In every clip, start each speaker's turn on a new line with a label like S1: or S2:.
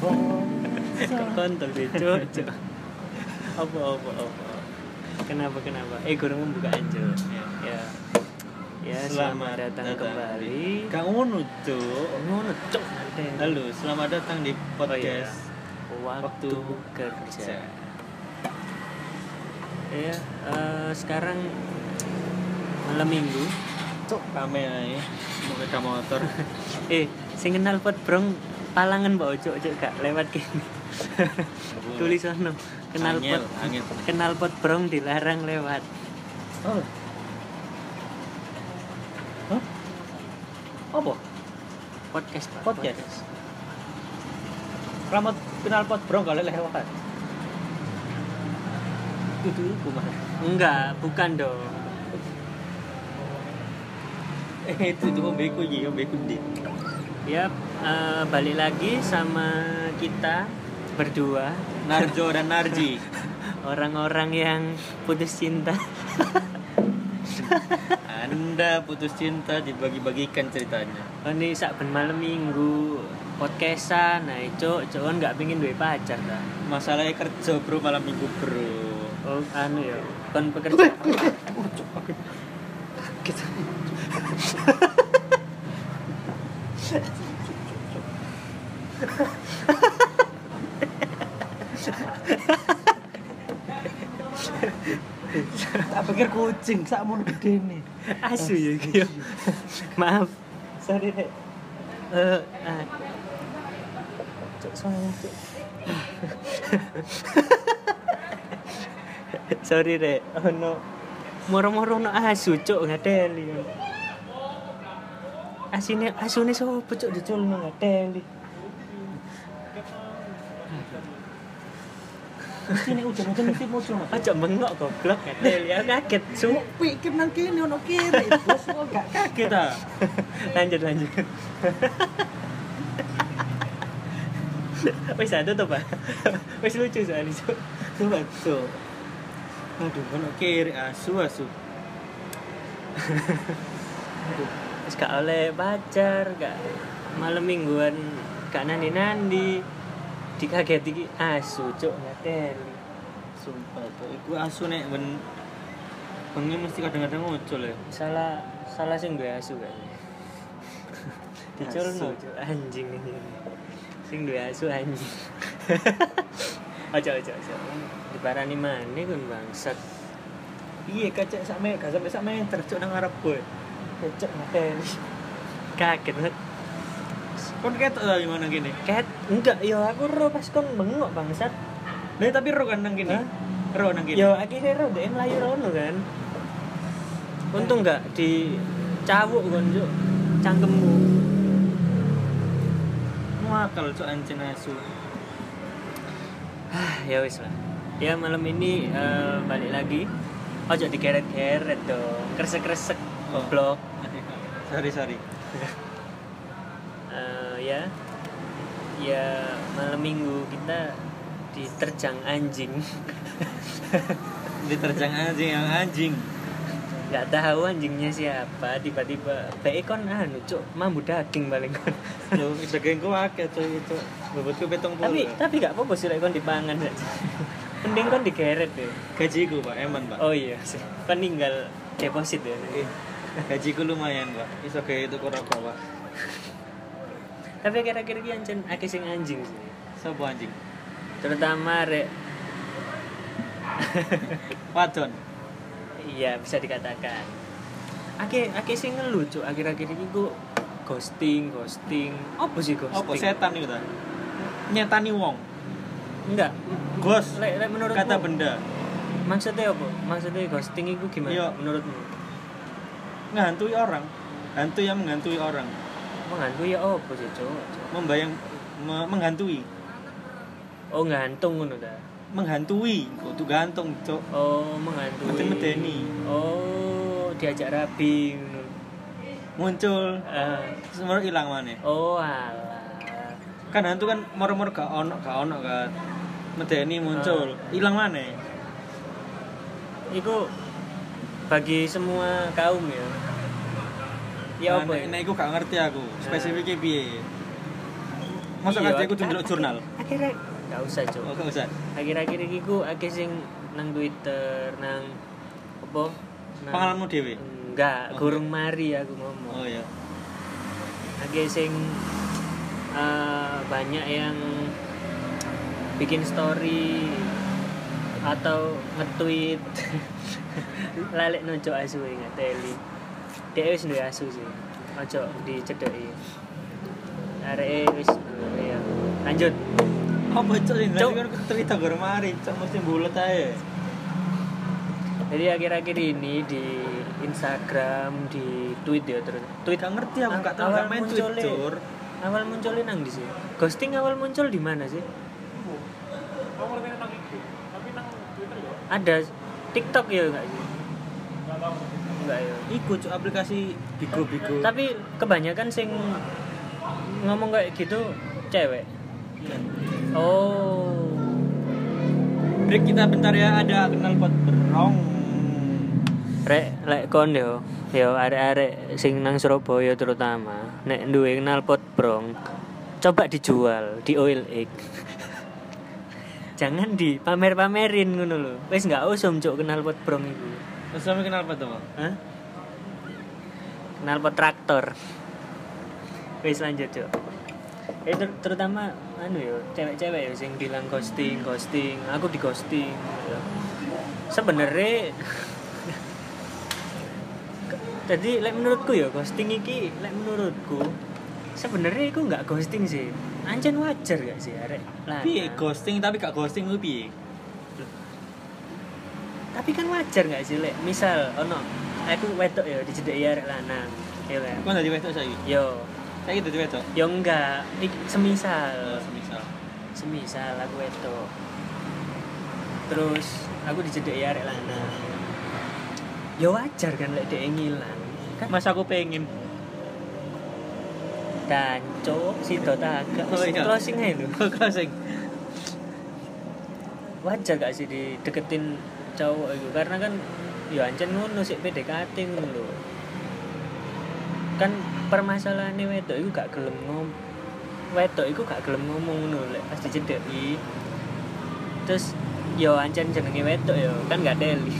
S1: Kok kontol deh, cuk, cuk. Apa, apa, apa. Kenapa, kenapa? Eh, gorong membuka anjir.
S2: Iya.
S1: Ya. Ya, selamat, datang, kembali.
S2: Kang Unu cuk.
S1: Ngono, cuk.
S2: Halo, selamat datang di podcast.
S1: ya.
S2: Iya.
S1: Waktu,
S2: Waktu
S1: kerja.
S2: Kerja.
S1: Ya, eh, sekarang malam minggu.
S2: Cuk, rame ya, ae. Sepeda motor.
S1: Eh, sing kenal pot brong palangan mbak ojo ojo gak lewat gini. Tulis ono kenal pot
S2: Angel, angel.
S1: kenal pot brong dilarang lewat.
S2: Oh. Hah? Apa?
S1: Podcast, Pak.
S2: Podcast. Ramot kenal pot bro gak leleh lewat. Itu iku mah.
S1: Enggak, bukan dong.
S2: Eh itu itu ombeku iki, ombeku ndi?
S1: Ya, eh, balik lagi sama kita berdua
S2: Narjo dan Narji.
S1: orang-orang yang putus cinta.
S2: Anda putus cinta dibagi-bagikan ceritanya.
S1: Oh, Ini sak ben malam minggu podcastan, nah cok, cok kan nggak pengen duwe pacar dah.
S2: Masalahnya kerja bro malam minggu bro.
S1: Oh, anu ya, kon pekerja.
S2: Eh, oh, tak pikir kucing, sak mun gede nih.
S1: Asu ya iki ya. Maaf.
S2: Sorry dek.
S1: Eh, ah,
S2: Cuk, soalnya cuk.
S1: sorry rek. Ono moro-moro ono asu cok ngadeli. Asine asune sopo cok diculno ngadeli.
S2: Sini hujan-hujan mesti muncul mas.
S1: Aja bengok goblok ngadeli. Aku kaget cuk.
S2: Pikir nang kene ono kiri, bos kok gak kaget ah.
S1: lanjut lanjut. Wis ada tuh, Pak. Wis lucu soalnya cok.
S2: Coba cuk. Aduh, ono kiri ah, asu asu.
S1: Terus gak oleh pacar, gak malam mingguan gak nandi-nandi. Dikageti ki asu cuk ngateli.
S2: Sumpah cuk, iku asu nek ben bengi mesti kadang-kadang muncul ya.
S1: Salah salah sing duwe asu kan. Diculno
S2: Asu.
S1: cuk anjing ini. Sing duwe asu anjing. Ojo ojo ojo. Diparani maneh kun bangsat.
S2: Iya, kacek sak meter, gak sampe sak meter cuk nang arep gue.
S1: Eh,
S2: Cuk ngateni.
S1: Kaget banget.
S2: Kon ketok ta gimana gini?
S1: Ket enggak yo aku ro pas kon bengok bangsat.
S2: Lah tapi ro kan nang
S1: Hah?
S2: kene. Ro nang kene.
S1: Yo akhirnya ro dhek mlayu rono kan. Untung enggak di cawuk kon juk cangkemmu.
S2: Muakal cuk anjen asu.
S1: Ah, ya wis lah. Ya malam ini eh, balik lagi. Ojo digeret-geret dong. Kresek-kresek
S2: Oh.
S1: goblok.
S2: sorry, sorry.
S1: Eh, ya. Ya malam Minggu kita diterjang anjing.
S2: Diterjang anjing yang anjing.
S1: nggak tahu anjingnya siapa tiba-tiba baik kon anu cuk mambu daging paling kon
S2: Yo dagingku akeh cuk itu. Bobotku petong
S1: tapi
S2: puluh.
S1: tapi nggak apa-apa sih lek kon dipangan Cuk. mending kon digeret deh
S2: gajiku Pak, eman Pak.
S1: oh iya sih. kon ninggal deposit ya
S2: Eh, gajiku lumayan Pak. Iso gawe tuku rokok Pak.
S1: tapi kira-kira ki anjen akeh sing anjing sih
S2: Sopo anjing?
S1: terutama rek
S2: Wadon.
S1: iya bisa dikatakan akeh akeh sing ngeluh cuk akhir-akhir ini gua ghosting ghosting apa sih ghosting
S2: Apa setan itu ta? Nyetani wong.
S1: enggak
S2: Ghost.
S1: lek lek menurutmu
S2: Kata benda.
S1: maksudnya apa maksudnya ghosting itu gimana
S2: Iya.
S1: menurutmu
S2: Ngehantui orang. Hantu yang menghantui orang.
S1: mengantu ya apa sih cuk
S2: Membayang me- menghantui.
S1: oh ngantung ngono ta
S2: Menghantui. Kok tuh gantung, Cuk.
S1: oh mengantu
S2: Meden-medeni.
S1: oh diajak rabi ngono
S2: Muncul.
S1: Ah,
S2: Semua hilang mana?
S1: oh alah
S2: Kan hantu kan moro-moro gak ono, gak ono kan. Medeni muncul,
S1: Ah.
S2: hilang mana?
S1: itu bagi semua kaum ya ya
S2: Nah,
S1: apa
S2: nek-
S1: ya?
S2: Nah,
S1: Nah.
S2: Nek iku gak ngerti aku. Spesifiknya piye? Masuk
S1: Iya, Nah.
S2: aja aku
S1: ak-
S2: ndelok jurnal.
S1: akhirnya nggak usah cok
S2: Oh, gak usah.
S1: akhir-akhir ini ku akeh sing nang Twitter nang apa nang
S2: Pengalamanmu dhewe.
S1: enggak
S2: Oh.
S1: gurung mari aku ngomong
S2: Oh iya.
S1: Oke, sing eh, banyak yang bikin story atau nge-tweet lalek nojo asu ingat teli dia wis duwe asu sih ojo dicedeki arek wis ya lanjut
S2: Apa cok ini?
S1: Cok.
S2: Nanti kan cerita gue mari, cok mesti bulat aja.
S1: jadi akhir-akhir ini di Instagram di tweet ya terus
S2: Tweet gak ngerti aku gak tahu gak main tweet
S1: munculnya-
S2: cur.
S1: awal munculnya nang di sini ghosting awal muncul di mana sih ada TikTok ya enggak sih enggak ya
S2: Iku cok aplikasi bigo-bigo.
S1: tapi kebanyakan sing ngomong kayak gitu cewek oh
S2: Break kita bentar ya, ada kenal pot berong.
S1: rek lek kon yo yo arek-arek sing nang Surabaya terutama nek duwe knalpot brong coba dijual di OLX jangan di pamer-pamerin ngono lho wis nggak usum cuk knalpot brong iku
S2: Terus kamu kenal pot apa?
S1: Hah? Knalpot traktor. Wis lanjut, Cuk. Eh, ter- terutama anu yo, cewek-cewek yo sing bilang ghosting, ghosting, aku di ghosting. gitu. Sebenarnya Ke- jadi lek menurutku ya ghosting iki lek menurutku sebenarnya iku nggak ghosting sih. Anjen wajar gak sih arek? lanang?
S2: Piye ghosting tapi gak ghosting lu piye?
S1: Tapi kan wajar nggak sih lek misal ono aku wedok ya dijedeki arek lanang. Ya kan?
S2: Kau dari wetok saya?
S1: Yo,
S2: Saya dari wetok.
S1: yo enggak. Ik- semisal,
S2: Eh, Semisal.
S1: semisal aku itu. Terus aku dicedeki arek lanang. Yo wajar kan lek dhek ngilang. Kan
S2: Mas aku pengen.
S1: danco sido tak agak
S2: Oh, iya.
S1: closing ae lho.
S2: Closing.
S1: Wajar gak sih dideketin cowok itu karena kan yo ancen ngono sik PDKT ngono lho. Kan permasalahannya wedok iku gak gelem ngom. Wedok iku gak gelem ngomong ngono lho lek pas dicedeki. terus yo ancen jenenge wedok yo kan gak deli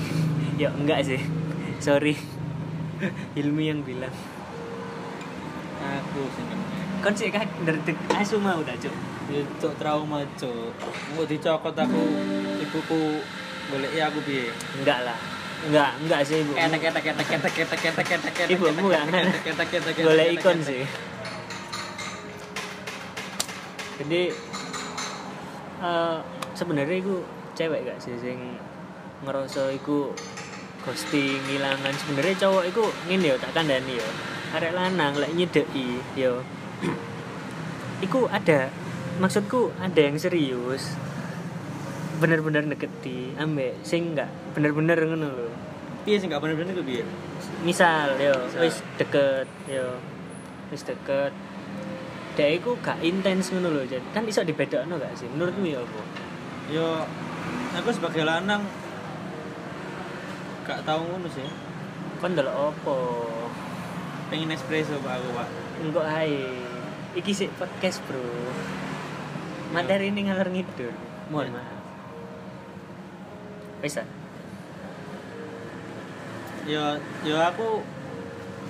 S1: yo ya enggak sih sorry Hilmi yang bilang
S2: Aku seneng.
S1: kan sih kan nerdek asu mau dah cuk
S2: Cuk trauma cuk. Mau dicokot aku ibuku goleki aku piye?
S1: enggak lah enggak enggak sih ibu
S2: Ketek ketek ketek ketek ketek ketek ketek ketek.
S1: Ibumu kan?
S2: Ketek ketek ketek. ketek,
S1: boleh
S2: ketek,
S1: ikon
S2: ketek.
S1: sih jadi eh sebenarnya iku cewek gak sih sing ngerasa iku ghosting ngilangan sebenarnya cowok iku ngene yo tak kandani yo arek lanang lek nyedeki yo iku ada maksudku ada yang serius bener-bener deketi ambek sing enggak bener-bener ngono lho
S2: Piye sih enggak bener-bener ku piye?
S1: misal yo
S2: Misal.
S1: wis deket yo wis deket dia iku gak intens ngono lho Jan. kan iso dibedakno gak sih menurutmu ya apa
S2: Yo aku sebagai lanang gak tahu ngono sih.
S1: kon ndelok apa
S2: Pengen espresso Pak aku, Pak.
S1: engko ae iki sik podcast bro materi ini ngalor ngidul mohon
S2: Ya.
S1: maaf wis ah?
S2: Yo yo aku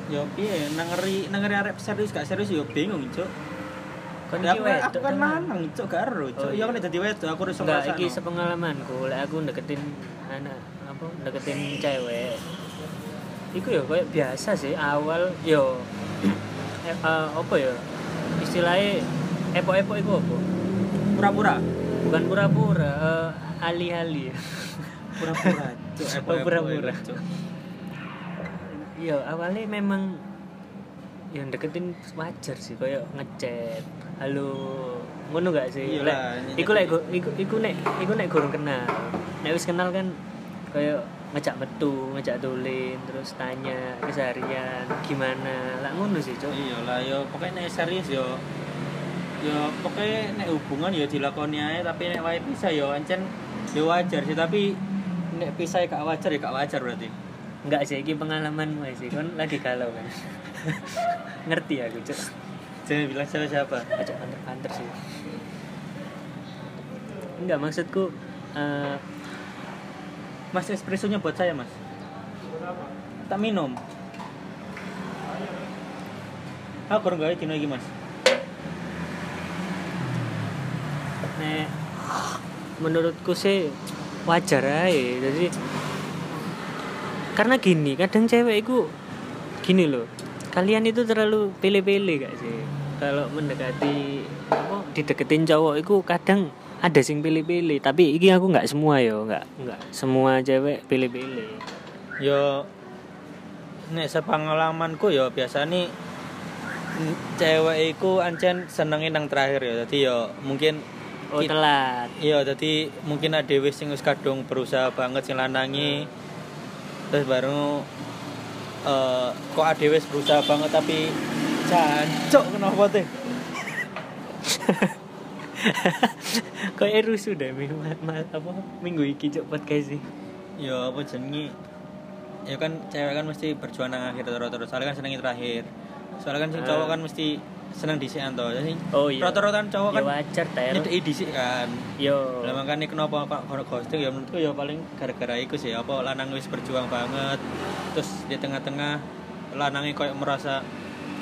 S2: yo piye nangeri nangeri arek serius gak serius yo bingung cuk.
S1: kon
S2: Ya,
S1: iki
S2: Aku,
S1: wedok
S2: aku kan
S1: tenan.
S2: lanang cuk gak ero
S1: Oh,
S2: cuk.
S1: iya.
S2: Yo nek dadi wedok aku iso
S1: Enggak,
S2: ngrasakno.
S1: iki sepengalamanku, lek aku deketin anak apa deketin cewek. Iku ya kayak biasa sih awal yo eh, eh, apa ya? Istilahnya epok-epok iku apa?
S2: pura-pura.
S1: Bukan pura-pura, eh, alih-alih.
S2: pura-pura cuk
S1: Oh, pura-pura. Yo Iya, awalnya memang yang deketin wajar sih kayak ngechat. Halo, ngono gak sih?
S2: Iya
S1: Lek-
S2: lah, nyanyi-
S1: iku lek go- iku iku nek iku nek gurung kenal. Nek wis kenal kan kayak ngejak metu, ngejak dolen, terus tanya keseharian gimana. Lah ngono sih, Cuk.
S2: iya lah yo pokoknya nek serius yo yo pokoknya nek hubungan yo dilakoni aja tapi nek wae pisah yo ancen yo wajar sih tapi nek pisah ya gak wajar ya gak wajar berarti
S1: Enggak sih, iki pengalamanmu sih. Kon lagi galau kan. Ngerti aku, Cuk.
S2: Jangan bilang siapa-siapa.
S1: ajak banter-banter sih enggak maksudku eh,
S2: Mas espressonya buat saya, Mas. Tak minum. Aku kurang gawe dino iki, Mas. Nek
S1: menurutku sih wajar aja jadi karena gini kadang cewek itu gini loh kalian itu terlalu pilih-pilih gak sih kalau mendekati apa dideketin cowok itu kadang ada sing pilih-pilih tapi iki aku nggak semua yo nggak nggak semua cewek pilih-pilih
S2: yo nek sepengalamanku yo biasa nih cewek iku ancen senengi nang terakhir ya dadi yo mungkin
S1: oh
S2: kit-
S1: telat
S2: Iya, jadi mungkin ada wis sing wis kadung berusaha banget sing lanangi. Terus baru eh kok ada wis berusaha banget tapi jancok kenapa teh?
S1: kayak rusuh deh minggu ma- apa minggu iki cok podcast sih
S2: Ya apa jenenge? Ya kan cewek kan mesti berjuang nang akhir rata-rata. Soalnya kan senengi terakhir. Soalnya kan sing cowok kan mesti seneng disikan to. Jadi
S1: Ah. oh iya
S2: rata-rata kan cowok
S1: ya
S2: kan
S1: wajar Oh. ter
S2: nyedeki dhisik kan.
S1: yo
S2: Lah makanya kenapa kok kono ghosting ya menurutku ya paling gara-gara iku sih apa lanang wis berjuang banget terus di tengah-tengah lanangnya koyo merasa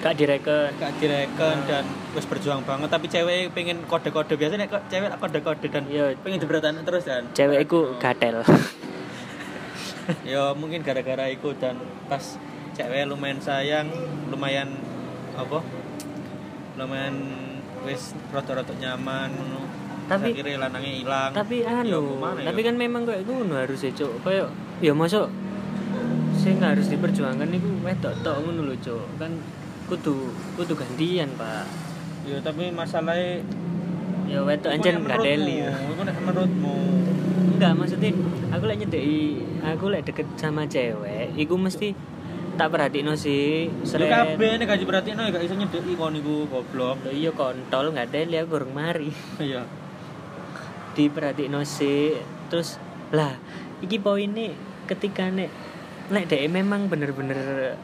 S1: gak direken
S2: gak
S1: Ah.
S2: direken dan wis berjuang banget tapi cewek pengen kode-kode biasanya kok cewek lah kode-kode dan
S1: Iya.
S2: pengen diberatannya terus dan
S1: cewek iku gatel
S2: ya mungkin gara-gara iku dan pas cewek lumayan sayang lumayan apa lumayan wis roto-roto nyaman ngono.
S1: Tapi-
S2: Terus akhirnya lanangnya hilang
S1: tapi
S2: Ya,
S1: anu
S2: gimana ya?
S1: tapi kan memang kayak ngono harus ya cok kayak ya masuk sing harus diperjuangkan itu wedok tok ngono lho cok kan kudu kudu gantian pak
S2: ya tapi masalahnya
S1: ya wedok anjen
S2: Iku nek
S1: gak deli ya.
S2: menurutmu, iku nek menurutmu
S1: enggak maksudnya aku lagi nyedeki aku lagi deket sama cewek iku mesti tak perhatiin sih
S2: lu
S1: selain
S2: kabeh nek gaji berarti no gak iso nyedeki kon iku goblok
S1: Lho iya kontol nggak ada lihat goreng mari
S2: iya
S1: diperhatiin sih terus lah iki poin ini ketika nek nek dia memang bener-bener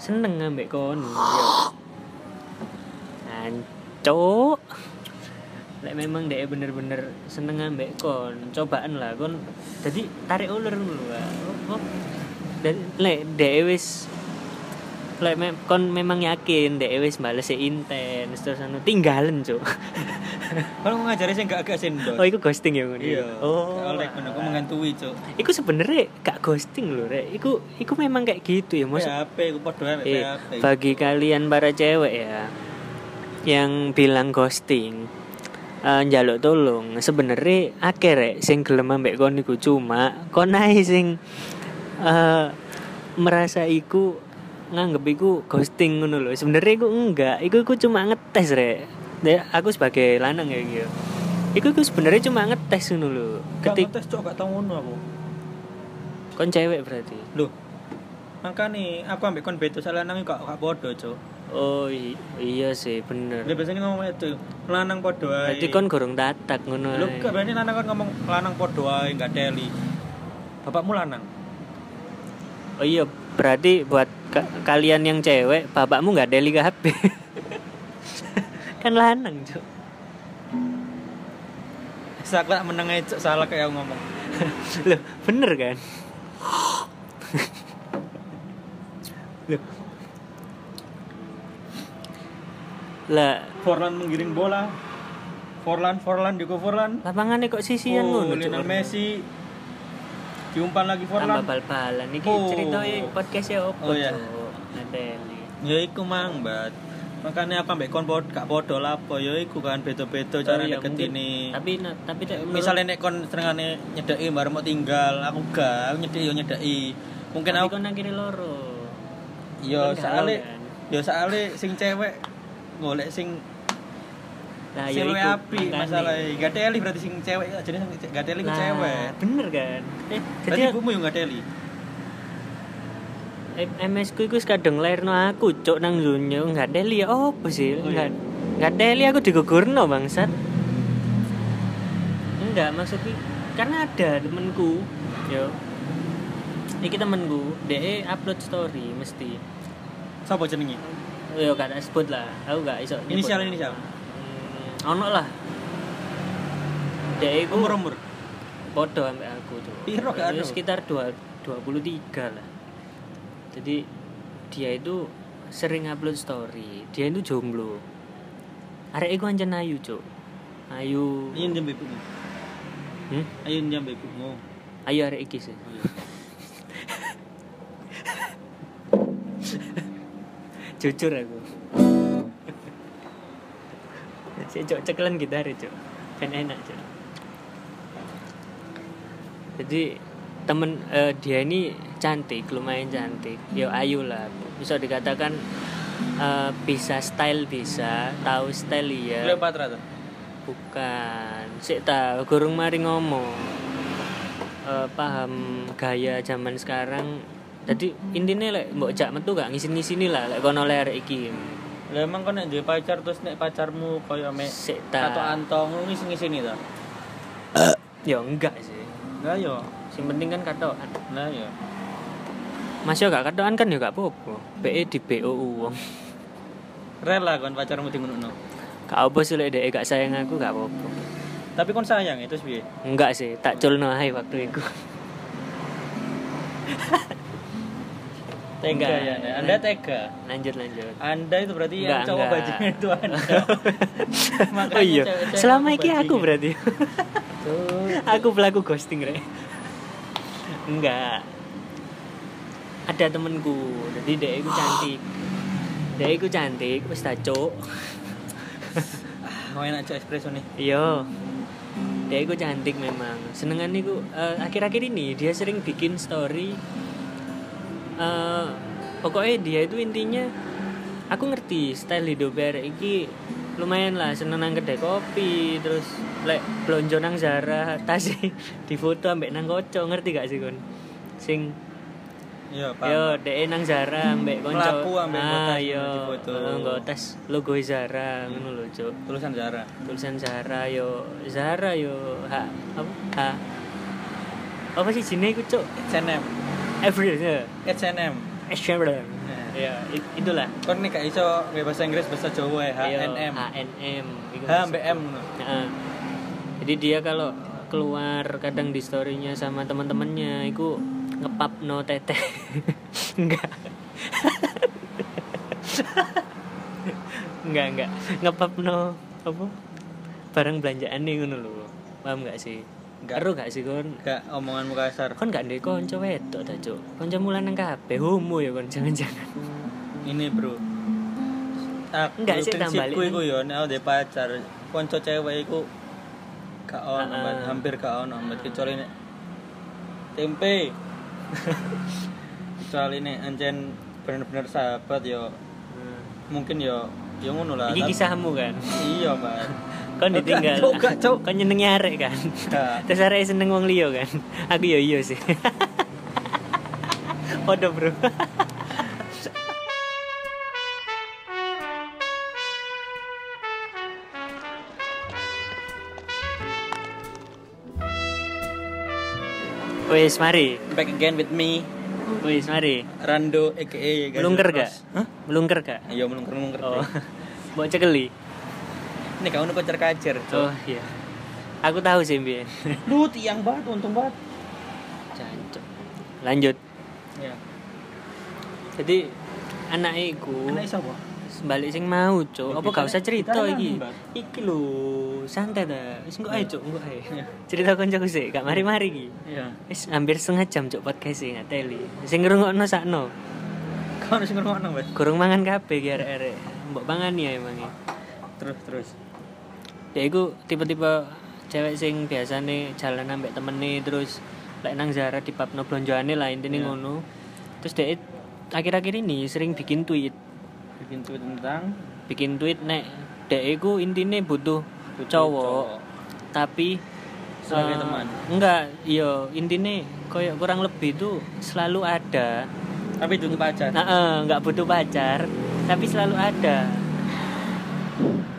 S1: seneng ngambek kon ya Ancuk. nek memang dia bener-bener seneng ngambek kon cobaan lah kon jadi tarik ulur dulu lah dan lek dia wis lek mem- kon memang yakin dia wis bales intens terus anu tinggalan cuk
S2: kan aku ngajari sing gak agak sendok
S1: Oh, iku ghosting ya ngono.
S2: iya
S1: Oh.
S2: oleh ngono aku mengantui cuk
S1: Iku sebenarnya gak ghosting lho, Rek. Iku iku memang kayak gitu ya, Mas.
S2: PHP aku padha ae
S1: Eh,
S2: PHP
S1: bagi kalian para cewek ya yang bilang ghosting eh, njaluk tolong sebenarnya akeh rek sing gelem ambek kon iku cuma kon ae sing eh, merasa iku nganggep iku ghosting ngono lho sebenarnya iku enggak iku iku cuma ngetes rek Dek, aku sebagai lanang ya gitu iku iku sebenarnya cuma ngetes ngono lho
S2: gak
S1: ketik
S2: ngetes cuk gak tau ngono aku
S1: kon cewek berarti
S2: lho makane aku ambek kon beda salah nang gak gak padha cuk
S1: oh i- iya sih bener
S2: dia biasanya ngomong itu lanang padha ae
S1: berarti kon gorong tatak ngono
S2: lu
S1: ae.
S2: gak berani lanang kan ngomong lanang padha ae gak deli bapakmu lanang
S1: Oh iya, berarti buat ka- kalian yang cewek, bapakmu nggak deli ke HP. kan lanang, Cuk.
S2: Sakla meneng ae cuk salah kayak aku ngomong
S1: Loh, bener kan? Loh. Lah,
S2: Forlan menggiring bola. Forlan, Forlan, Diego Forlan.
S1: lapangannya kok sisian
S2: Oh,
S1: ngono, Cuk.
S2: Lionel Messi. Diumpan lagi
S1: Tambah
S2: Forlan.
S1: bal-balan iki
S2: Oh.
S1: ceritanya podcast ya opo,
S2: Oh, iya.
S1: Cuk. Ngenteni.
S2: Ya iku mang, Mbak. Makanya apa mbek kon pod gak podo lapo ya iku kan beda-beda
S1: Oh
S2: cara
S1: iya, mungkin.
S2: deket ini.
S1: Tapi na- tapi nek menurut-
S2: Misalnya nek kon senengane nyedeki baru mau tinggal, aku gak, aku nyedeki yo nyedeki. Mungkin
S1: tapi
S2: aku
S1: kon nang kiri loro.
S2: yo
S1: kon galau,
S2: soalnya
S1: kan?
S2: yo soalnya sing cewek golek sing
S1: Lah ya
S2: sing luwih
S1: iku,
S2: apik
S1: makane.
S2: masalahnya. Gak teli berarti sing cewek jadi gak teli ku
S1: Nah,
S2: cewek.
S1: bener kan eh
S2: Berarti
S1: jadi
S2: ibumu yo gak teli.
S1: M- MS ku iku kadang lairno aku cok nang dunyo nggak deli ya opo sih
S2: Oh,
S1: nggak
S2: iya.
S1: nggak deli aku digugurno bangsat enggak maksudku karena ada temenku yo iki temenku de upload story mesti
S2: Sapa jenengi?
S1: yo gak tak sebut lah aku gak iso nyebut.
S2: Inisial, inisial.
S1: hmm, ono lah dek iku
S2: umur umur
S1: podo ambek aku tuh
S2: Piro
S1: Itu
S2: gak ono?
S1: sekitar dua 23 lah jadi dia itu sering upload story dia itu jomblo arek iku ancen ayu cuk ayu
S2: ayo nyampe ibumu
S1: hmm?
S2: ayo nyampe ibumu
S1: ayu arek iki sih jujur aku Cek cok cekelan gitar ya, cok kan enak cok jadi temen eh, dia ini cantik lumayan cantik yo ayu lah bisa dikatakan eh, bisa style bisa tahu style ya
S2: Cleopatra tuh
S1: bukan sik ta gurung mari ngomong Eh, paham gaya zaman sekarang jadi intinya lek mbok jak metu gak ngisini sini lah lek kono ler iki
S2: lah emang kau nek duwe pacar terus nek pacarmu koyo me
S1: sik ta
S2: atau antong lu ngisi ngisi nih tuh
S1: ya enggak sih
S2: lah yo
S1: sing penting kan katokan
S2: lah yo
S1: Mas yo gak katokan kan yo gak apa-apa BE di BO wong
S2: rela kon pacarmu di ngono
S1: gak apa sih lek dhek gak sayang aku gak apa-apa
S2: tapi kon sayang itu sih
S1: enggak sih tak culno ae waktu itu
S2: tega
S1: Enggak.
S2: ya Nek. anda tega
S1: lanjut lanjut
S2: anda itu berarti yang
S1: Enggak,
S2: cowok
S1: enggak.
S2: bajingan itu anda
S1: oh
S2: Makanya
S1: iya
S2: cewek-cewek
S1: selama
S2: aku
S1: ini aku
S2: bajingan.
S1: berarti
S2: Tuh.
S1: aku pelaku ghosting rek enggak ada temenku jadi dia itu cantik dia itu cantik wis tak cuk
S2: mau enak cok espresso nih
S1: iya dia itu cantik memang senengan niku eh, akhir-akhir ini dia sering bikin story Eh, pokoknya dia itu intinya aku ngerti style hidupnya rek iki lumayan lah seneng nang kedai kopi terus lek blonjo nang Zara tas difoto ambek nang kocok ngerti gak sih kon sing
S2: iya pak
S1: Yo, dek nang Zara ambek konco.
S2: Melaku ambek
S1: ah,
S2: botas,
S1: yo,
S2: difoto.
S1: eh, nggo tas logo Zara ngono lho, Cuk.
S2: tulisan Zara
S1: Tulisan Zara yo, Zara yo, ha, apa? Ha. Apa sih jenis iku, Cuk?
S2: H&M
S1: Every ya.
S2: H&M
S1: Instagram. Ya,
S2: Iya,
S1: it- itulah.
S2: kon nih gak iso nggak bahasa Inggris bahasa Jawa ya
S1: Yo,
S2: H&M
S1: HNM. iku
S2: H
S1: maksud.
S2: sampai M no.
S1: Heeh. Jadi dia kalau keluar kadang di storynya sama teman-temannya itu ngepap no teteh enggak enggak enggak ngepap no apa barang belanjaan nih ngono lho paham enggak sih
S2: Enggak.
S1: enggak gak sih kon
S2: gak omonganmu kasar
S1: kon enggak ndek kanca wedok ta cuk kanca mulan nang kabeh homo ya kon jangan-jangan
S2: ini bro aku
S1: Hmm. Enggak sih, tambah
S2: prinsipku
S1: balik.
S2: iku yo nek udah pacar konco cewek iku gak
S1: Ah,
S2: ono Mbak.
S1: ah.
S2: hampir gak ono Mbak. kecuali nek tempe kecuali nek anjen bener-bener sahabat yo mungkin yo yo ngono lah
S1: iki
S2: Nah, Tapi-
S1: kisahmu kan
S2: iya mbak
S1: kon
S2: Enggak,
S1: ditinggal
S2: Cuk, enggak, Cuk.
S1: kon nyenengi arek kan
S2: Enggak.
S1: terus arek seneng wong liya kan aku yo iya sih Odo bro Wis mari,
S2: back again with me
S1: wis mari.
S2: Rando aka
S1: Melungker gak?
S2: Hah?
S1: Melungker gak?
S2: Iya melungker melungker.
S1: Oh. Mbok cekeli.
S2: Ini kau nu pacar kacer.
S1: Oh iya. Aku tahu sih, Mbien.
S2: Lu tiang banget untung banget.
S1: Jancuk. Lanjut.
S2: Iya.
S1: Jadi anak iku
S2: Enak iso apa?
S1: balik sing mau, Cuk.
S2: Ya,
S1: Apa
S2: kita-
S1: gak usah cerita
S2: kita enak
S1: iki?
S2: nih, Mbak.
S1: Iki lho, santai ta. Wis engko ae, Cuk, engko ae.
S2: Iya.
S1: Cerita koncoku sik, gak mari-mari iki.
S2: Iya.
S1: Wis hampir setengah jam Cuk podcast sing teli. Sing ngrungokno sakno.
S2: Kau harus ngomong nang
S1: Gorong mangan kabeh ki arek-arek. Mbok pangan ya emangnya.
S2: Terus terus.
S1: Ya iku tipe-tipe cewek sing biasane jalan ambek temene terus lek nang Zara di papno blonjoane lah intine
S2: Iya.
S1: ngono. Terus dia akhir-akhir ini sering bikin tweet
S2: Bikin tweet tentang
S1: bikin tweet nek dek iku intine butuh
S2: Butuh cowok.
S1: cowok, tapi
S2: Sebagai
S1: eh,
S2: teman.
S1: enggak iya intine koyo kurang lebih itu selalu ada
S2: tapi itu pacar.
S1: nah, eh, enggak butuh pacar tapi selalu ada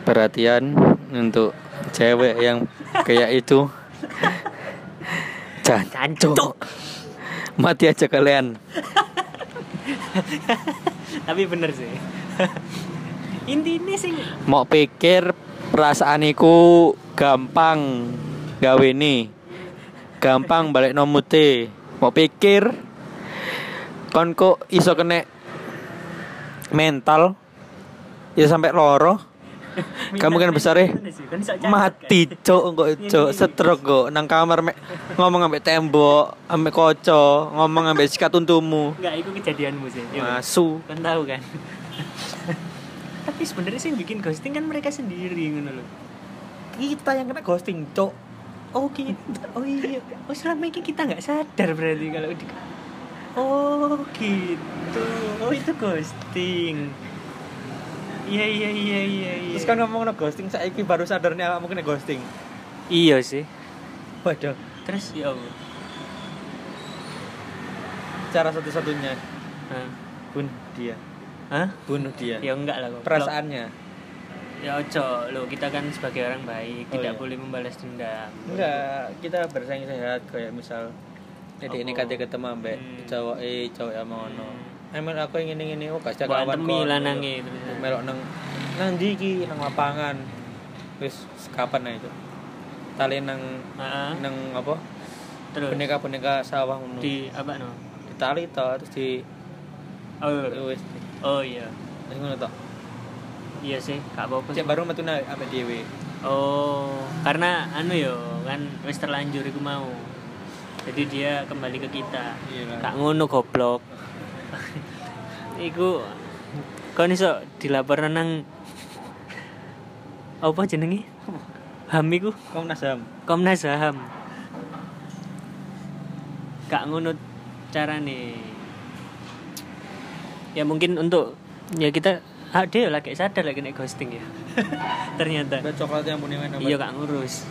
S2: Perhatian untuk cewek yang kayak itu.
S1: Jancuk.
S2: Mati aja kalian.
S1: tapi bener sih intine sing
S2: mau pikir perasaaniku gampang gawe ini gampang balik nomute mau pikir kon kok iso kene mental ya sampai loro kamu kan besar ya
S1: gitu
S2: mati cok kok cok stroke kok nang kamar mek ngomong ambek tembok ambek koco ngomong ambek sikat untumu
S1: kan? Enggak, itu kejadianmu sih. Yo.
S2: masu
S1: Kan tahu kan. Tapi sebenarnya sih yang bikin ghosting kan mereka sendiri ngono loh.
S2: kita yang kena ghosting cok
S1: Oh kita, oh iya, oh selama ini kita nggak sadar berarti kalau di Oh gitu, oh itu ghosting. Iya iya iya iya. iya.
S2: terus kan ngomong no ghosting saiki baru sadarnya awakmu kena ghosting
S1: iya sih.
S2: waduh
S1: Terus ya Allah.
S2: cara satu-satunya
S1: Hah?
S2: bunuh dia
S1: Hah?
S2: bunuh dia
S1: Ya enggak lah kok.
S2: perasaannya
S1: Ya ojo, lo kita kan sebagai orang baik
S2: Oh,
S1: tidak
S2: iya.
S1: boleh membalas dendam.
S2: enggak kita bersaing sehat kayak misal jadi ini
S1: Apa?
S2: kata ketemu ambek
S1: Hmm.
S2: cowok eh cowok yang mau no
S1: Hmm.
S2: Emel aku ingin ingin ini, oh kasih
S1: Bukan
S2: kawan
S1: temi
S2: kon.
S1: lanange itu.
S2: melok nang nang ndi iki nang lapangan wis kapan nah itu tali nang
S1: Heeh.
S2: nang apa
S1: Terus
S2: boneka boneka sawah ngono di
S1: di apa no?
S2: tali to terus di
S1: Oh,
S2: wis
S1: oh iya.
S2: terus ngono to
S1: Iya sih, gak apa-apa. sih.
S2: cek baru metu nang ambek dhewe
S1: Oh, karena anu yo kan wis terlanjur iku mau. Jadi dia kembali ke kita.
S2: Iya kan.
S1: Kak ngono goblok. iku kon iso dilaporno nang apa jenenge? Ham iku
S2: Komnas HAM
S1: Komnas HAM. Kak ngono carane. Ya mungkin untuk ya kita ah, dia lah kayak sadar lagi kena ghosting ya. Ternyata.
S2: ada coklat yang bunyi main
S1: Iya gak ngurus.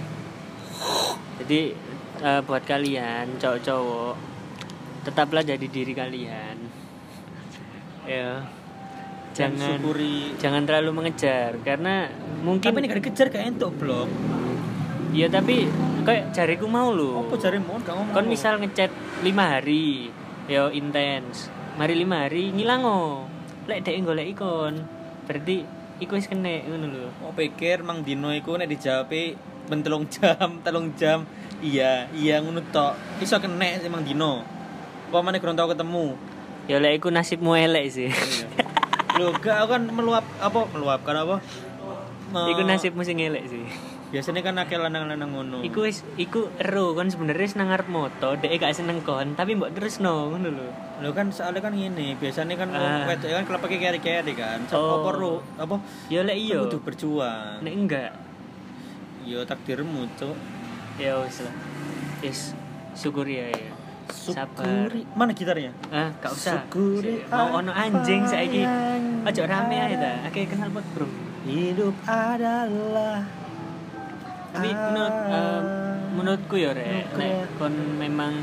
S1: Jadi eh, buat kalian cowok-cowok tetaplah jadi diri kalian. Ya. Jangan
S2: syukuri
S1: jangan terlalu mengejar karena mungkin
S2: tapi ini gak dikejar gak entuk blok
S1: Iya tapi kayak jariku mau lho.
S2: apa jari mau gak ngomong
S1: Kon misal ngechat lima hari, yo intens. Mari lima hari ngilango. Lek dek golek ikon, berarti iku wis kene ngono lho.
S2: mau pikir mang dino iku nek dijawab bentelung jam telung jam iya iya ngono tok iso kena sih mang dino apa mana kurang tau ketemu
S1: Ya lek iku nasibmu elek sih.
S2: Lho, gak aku kan meluap apa meluapkan apa? Me-
S1: iku nasibmu sing elek sih.
S2: Biasanya kan akeh lanang-lanang ngono.
S1: Iku wis iku ero kon sebenarnya wis nang arep moto, dek gak seneng kon, tapi mbok terusno ngono lho.
S2: Lho kan soalnya kan ngene, biasanya kan
S1: Ah.
S2: wedok kan kelapake keri-keri kan. Sapa
S1: Oh.
S2: apa ro apa?
S1: Ya lek iya.
S2: Kudu berjuang.
S1: Nek enggak,
S2: Yo takdirmu, Cuk.
S1: ya wis lah. Yes, syukuri ya. ya. Sabar.
S2: Syukuri. Mana gitarnya?
S1: Ah, gak usah.
S2: Syukuri
S1: Mau ono anjing
S2: apa
S1: saiki.
S2: yang
S1: Ojo rame ae ta. Oke, kenal pot, Bro.
S2: Hidup adalah
S1: Tapi menurut eh, menurutku ya, Rek,
S2: Ah. Menurutku ya.
S1: nek kon memang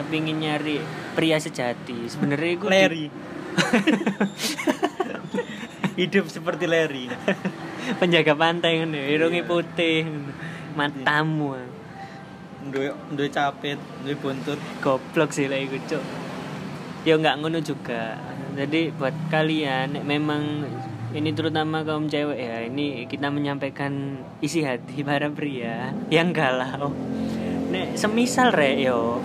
S1: kepingin nyari pria sejati, sebenarnya iku di-
S2: Larry. Hidup seperti Larry.
S1: penjaga pantai ngono, ya, irunge
S2: Iya.
S1: putih, ngono. matamu. ah.
S2: Duwe duwe capit, duwe buntut.
S1: Goblok sih lah iku, Cuk. Ya nggak ngono juga. Jadi buat kalian nek memang ini terutama kaum cewek ya, ini kita menyampaikan isi hati para pria yang galau. Nek semisal rek yo,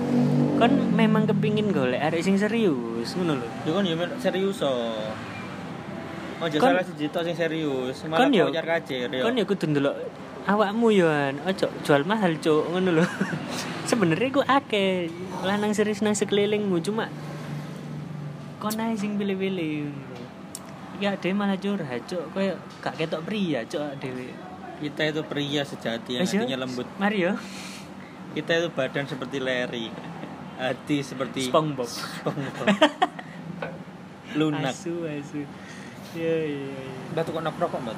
S1: kon memang kepingin golek arek sing serius ngono lho.
S2: Yo kan yo men- serius oh. so. Ojo
S1: Kon-
S2: salah siji tok sing serius, malah
S1: Kon yo-
S2: kocar kacir yo.
S1: Kon ya kudu ndelok awakmu yo an, ojo jual mahal cuk ngono lho. Sebenarnya ku akeh lanang serius nang sekelilingmu cuma kon ae sing pilih-pilih. Ya dhewe malah curhat cuk koyo gak ketok pria cuk dhewe.
S2: Kita itu pria sejati yang
S1: Wes, yo.
S2: hatinya lembut.
S1: Mari yo.
S2: Kita itu badan seperti Larry. Hati seperti
S1: SpongeBob.
S2: SpongeBob. Lunak.
S1: Asu asu. Ya ya ya.
S2: Mbak tuh kok nok rokok, Mbak?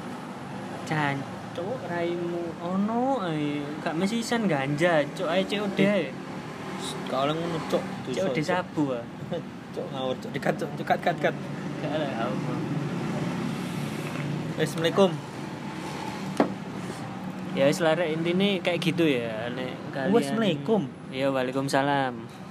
S1: Cancuk raimu ono ae gak mesisan ganja cuk ae COD ae.
S2: Gak oleh ngono, Cuk. Dosa,
S1: COD
S2: Cuk.
S1: sabu ae.
S2: Cuk ngawur, Cuk. Dekat, Cuk. Dekat, kat, kat.
S1: Gak ya ada apa.
S2: Wes, Assalamualaikum.
S1: ya wis lah Rek, intine kayak gitu ya nek kalian
S2: Wassalamualaikum.
S1: iya waalaikumsalam